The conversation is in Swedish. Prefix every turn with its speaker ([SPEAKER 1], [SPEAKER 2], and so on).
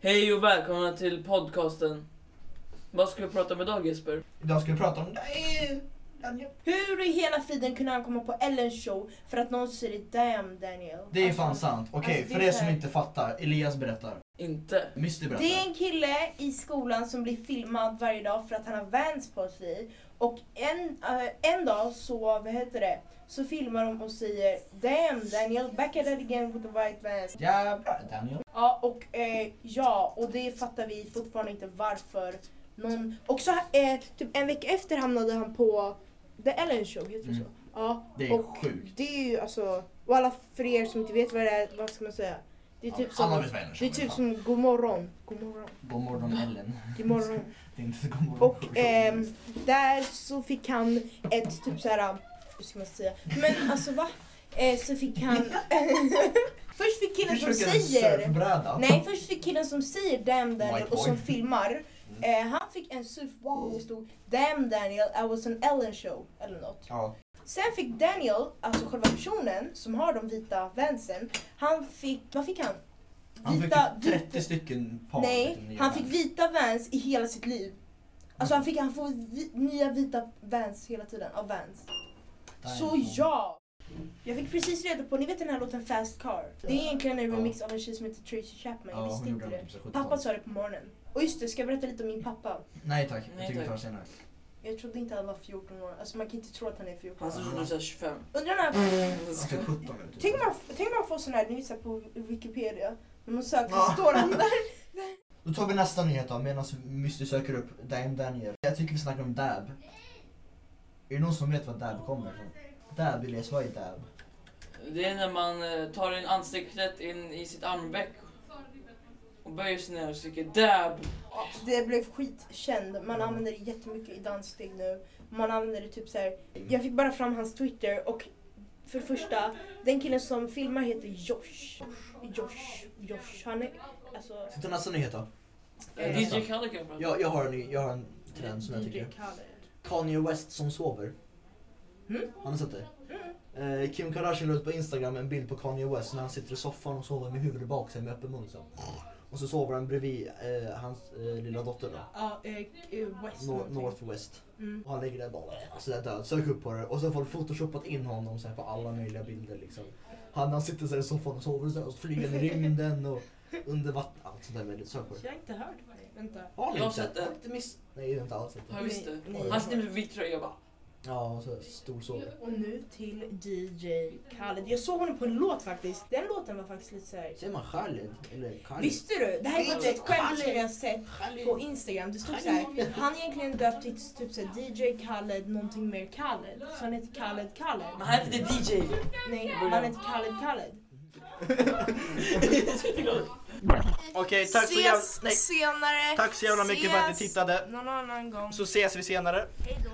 [SPEAKER 1] Hej och välkomna till podcasten. Vad ska vi prata om idag Jesper?
[SPEAKER 2] Idag ska vi prata om... Nej, Daniel.
[SPEAKER 3] Hur i hela friden kunde han komma på Ellens show för att någon säger damn Daniel?
[SPEAKER 2] Det är
[SPEAKER 3] Alltså,
[SPEAKER 2] fan sant. Okej,
[SPEAKER 3] alltså, det
[SPEAKER 2] för
[SPEAKER 3] är
[SPEAKER 2] er
[SPEAKER 3] så
[SPEAKER 2] som
[SPEAKER 3] här-
[SPEAKER 2] inte fattar. Elias berättar.
[SPEAKER 1] Inte.
[SPEAKER 2] Misty berättar.
[SPEAKER 3] Det är en kille i skolan som blir filmad varje dag för att han har Vans på sig. Och en, eh, en dag så, vad heter det, så filmar de och säger damn Daniel, back at it again with the white Vans.
[SPEAKER 2] Jävlar Daniel.
[SPEAKER 3] Ja, och eh, ja, och det fattar vi fortfarande inte varför någon... Och så eh, typ en vecka efter hamnade han på The Ellen Show, heter det
[SPEAKER 2] Mm.
[SPEAKER 3] så? Ja,
[SPEAKER 2] Det är
[SPEAKER 3] och
[SPEAKER 2] sjukt.
[SPEAKER 3] Det är ju alltså, och alla för er som inte vet vad det är, vad ska man säga? Det är typ
[SPEAKER 2] Alla
[SPEAKER 3] som,
[SPEAKER 2] vet vad Ellen
[SPEAKER 3] det är
[SPEAKER 2] Show
[SPEAKER 3] typ
[SPEAKER 2] är.
[SPEAKER 3] som god morgon, god morgon,
[SPEAKER 2] God morgon Ellen.
[SPEAKER 3] god morgon.
[SPEAKER 2] Det är inte så god morgon
[SPEAKER 3] Och
[SPEAKER 2] show.
[SPEAKER 3] ehm, där så fick han ett typ såhär, hur ska man säga? Men alltså va? Eh, så fick han... först fick killen som
[SPEAKER 2] Försöker en
[SPEAKER 3] säger...
[SPEAKER 2] surfbräda.
[SPEAKER 3] Nej, först fick killen som säger damn Daniel
[SPEAKER 2] White
[SPEAKER 3] och som
[SPEAKER 2] boy.
[SPEAKER 3] filmar,
[SPEAKER 2] Mm.
[SPEAKER 3] eh, han fick en surfboard där det stod damn Daniel, I was an Ellen show eller något.
[SPEAKER 2] Ja.
[SPEAKER 3] Sen fick Daniel, alltså själva personen som har de vita vansen, han fick, vad fick han?
[SPEAKER 2] Han fick
[SPEAKER 3] Vita-
[SPEAKER 2] typ 30 stycken par.
[SPEAKER 3] Nej,
[SPEAKER 2] nya
[SPEAKER 3] han fick
[SPEAKER 2] vans. Mm.
[SPEAKER 3] vita vans i hela sitt liv. Alltså han, fick, han får vi, nya vita vans hela tiden av vans. Så
[SPEAKER 2] Daniel.
[SPEAKER 3] ja! Jag fick precis reda på, ni vet den här låten Fast Car? Det är egentligen en
[SPEAKER 2] Ja.
[SPEAKER 3] remix av en tjej som heter Tracy Chapman, jag
[SPEAKER 2] Ja, hon
[SPEAKER 3] visste
[SPEAKER 2] gjorde
[SPEAKER 3] inte
[SPEAKER 2] det. typ
[SPEAKER 3] det.
[SPEAKER 2] på 70-talet.
[SPEAKER 3] Pappa sa det på morgonen. Och just det, ska jag berätta lite om min pappa?
[SPEAKER 2] Nej tack,
[SPEAKER 1] Nej,
[SPEAKER 2] jag tycker vi tar
[SPEAKER 1] tack.
[SPEAKER 2] det senare.
[SPEAKER 3] Jag trodde inte han var 14 år, alltså man kan inte tro att han är 14
[SPEAKER 1] Han
[SPEAKER 3] år.
[SPEAKER 1] som trodde såhär 25.
[SPEAKER 3] Undrar när
[SPEAKER 2] Han fick 17 nu typ.
[SPEAKER 3] Tänk man, tänk man får sån här nyheter på Wikipedia. När man söker
[SPEAKER 2] Ja.
[SPEAKER 3] så står han där.
[SPEAKER 2] Då tar vi nästa nyhet då medan Misty söker upp Dame Daniel. Jag tycker vi snackar om Dab. Är det någon som vet vad Dab kommer ifrån? Dab, Elias, vad är Dab?
[SPEAKER 1] Det är när man eh, tar in ansiktet in i sitt armveck och böjer sig ner och skriker dab.
[SPEAKER 3] Det blev skitkänd. Man använder det jättemycket i danssteg nu. Man använder det typ så här. Jag fick bara fram hans Twitter och för det första, den killen som filmar heter Josh. Josh, Josh. Han är alltså...
[SPEAKER 2] Ska vi ta nästa nyhet då?
[SPEAKER 1] Eh,
[SPEAKER 3] Eh,
[SPEAKER 1] DJ Khaled kan jag prata om.
[SPEAKER 2] Jag, jag, har en, ny- jag har en trend som jag
[SPEAKER 3] DJ
[SPEAKER 2] tycker.
[SPEAKER 3] Khaled.
[SPEAKER 2] Kanye West som sover.
[SPEAKER 3] Mm.
[SPEAKER 2] Har ni sett det? Eh, Kim Kardashian la ut på Instagram en bild på Kanye West när han sitter i soffan och sover med huvudet bak sig med öppen mun. Så. Och så sover han bredvid eh, hans eh, lilla dotter då.
[SPEAKER 3] Ja, eh, eh, West
[SPEAKER 2] Nor-
[SPEAKER 3] någonting.
[SPEAKER 2] North West.
[SPEAKER 3] Mm.
[SPEAKER 2] Och han ligger där bara alltså där död. Sök upp på det. Och så har folk photoshopat in honom så här, på alla möjliga bilder liksom. Han, han sitter så här i soffan och sover så här, och så flyger han i rymden och under vatten. Allt sånt där väldigt. Sök på det.
[SPEAKER 3] Jag har inte hört på det. Vänta.
[SPEAKER 2] Har ni
[SPEAKER 1] Jag har
[SPEAKER 2] inte
[SPEAKER 1] sett det.
[SPEAKER 2] Har ni inte miss... Nej, det är inte alls sett
[SPEAKER 1] Ja
[SPEAKER 2] det.
[SPEAKER 1] visst
[SPEAKER 3] Nej,
[SPEAKER 1] det.
[SPEAKER 3] nej.
[SPEAKER 1] Han sitter med vit tröja bara.
[SPEAKER 2] Ja, och så stor sover.
[SPEAKER 3] Och nu till DJ Khaled. Jag såg honom på en låt faktiskt. Den låten var faktiskt lite såhär...
[SPEAKER 2] Säger man Khaled? Eller Khaled?
[SPEAKER 3] Visste du? Det här är
[SPEAKER 2] DJ
[SPEAKER 3] faktiskt ett skämt som
[SPEAKER 2] Khaled.
[SPEAKER 3] jag har sett på Instagram. Det stod såhär, han är egentligen döpt till typ såhär DJ Khaled någonting mer Khaled. Så han heter Khaled
[SPEAKER 1] Men
[SPEAKER 3] Khaled.
[SPEAKER 1] han heter inte DJ.
[SPEAKER 3] Nej, han heter Khaled Khaled.
[SPEAKER 2] Okej,
[SPEAKER 3] senare!
[SPEAKER 2] tack så jävla mycket för att ni
[SPEAKER 3] Ses
[SPEAKER 2] tittade.
[SPEAKER 3] Någon annan gång.
[SPEAKER 2] Så ses vi senare.
[SPEAKER 3] Hejdå!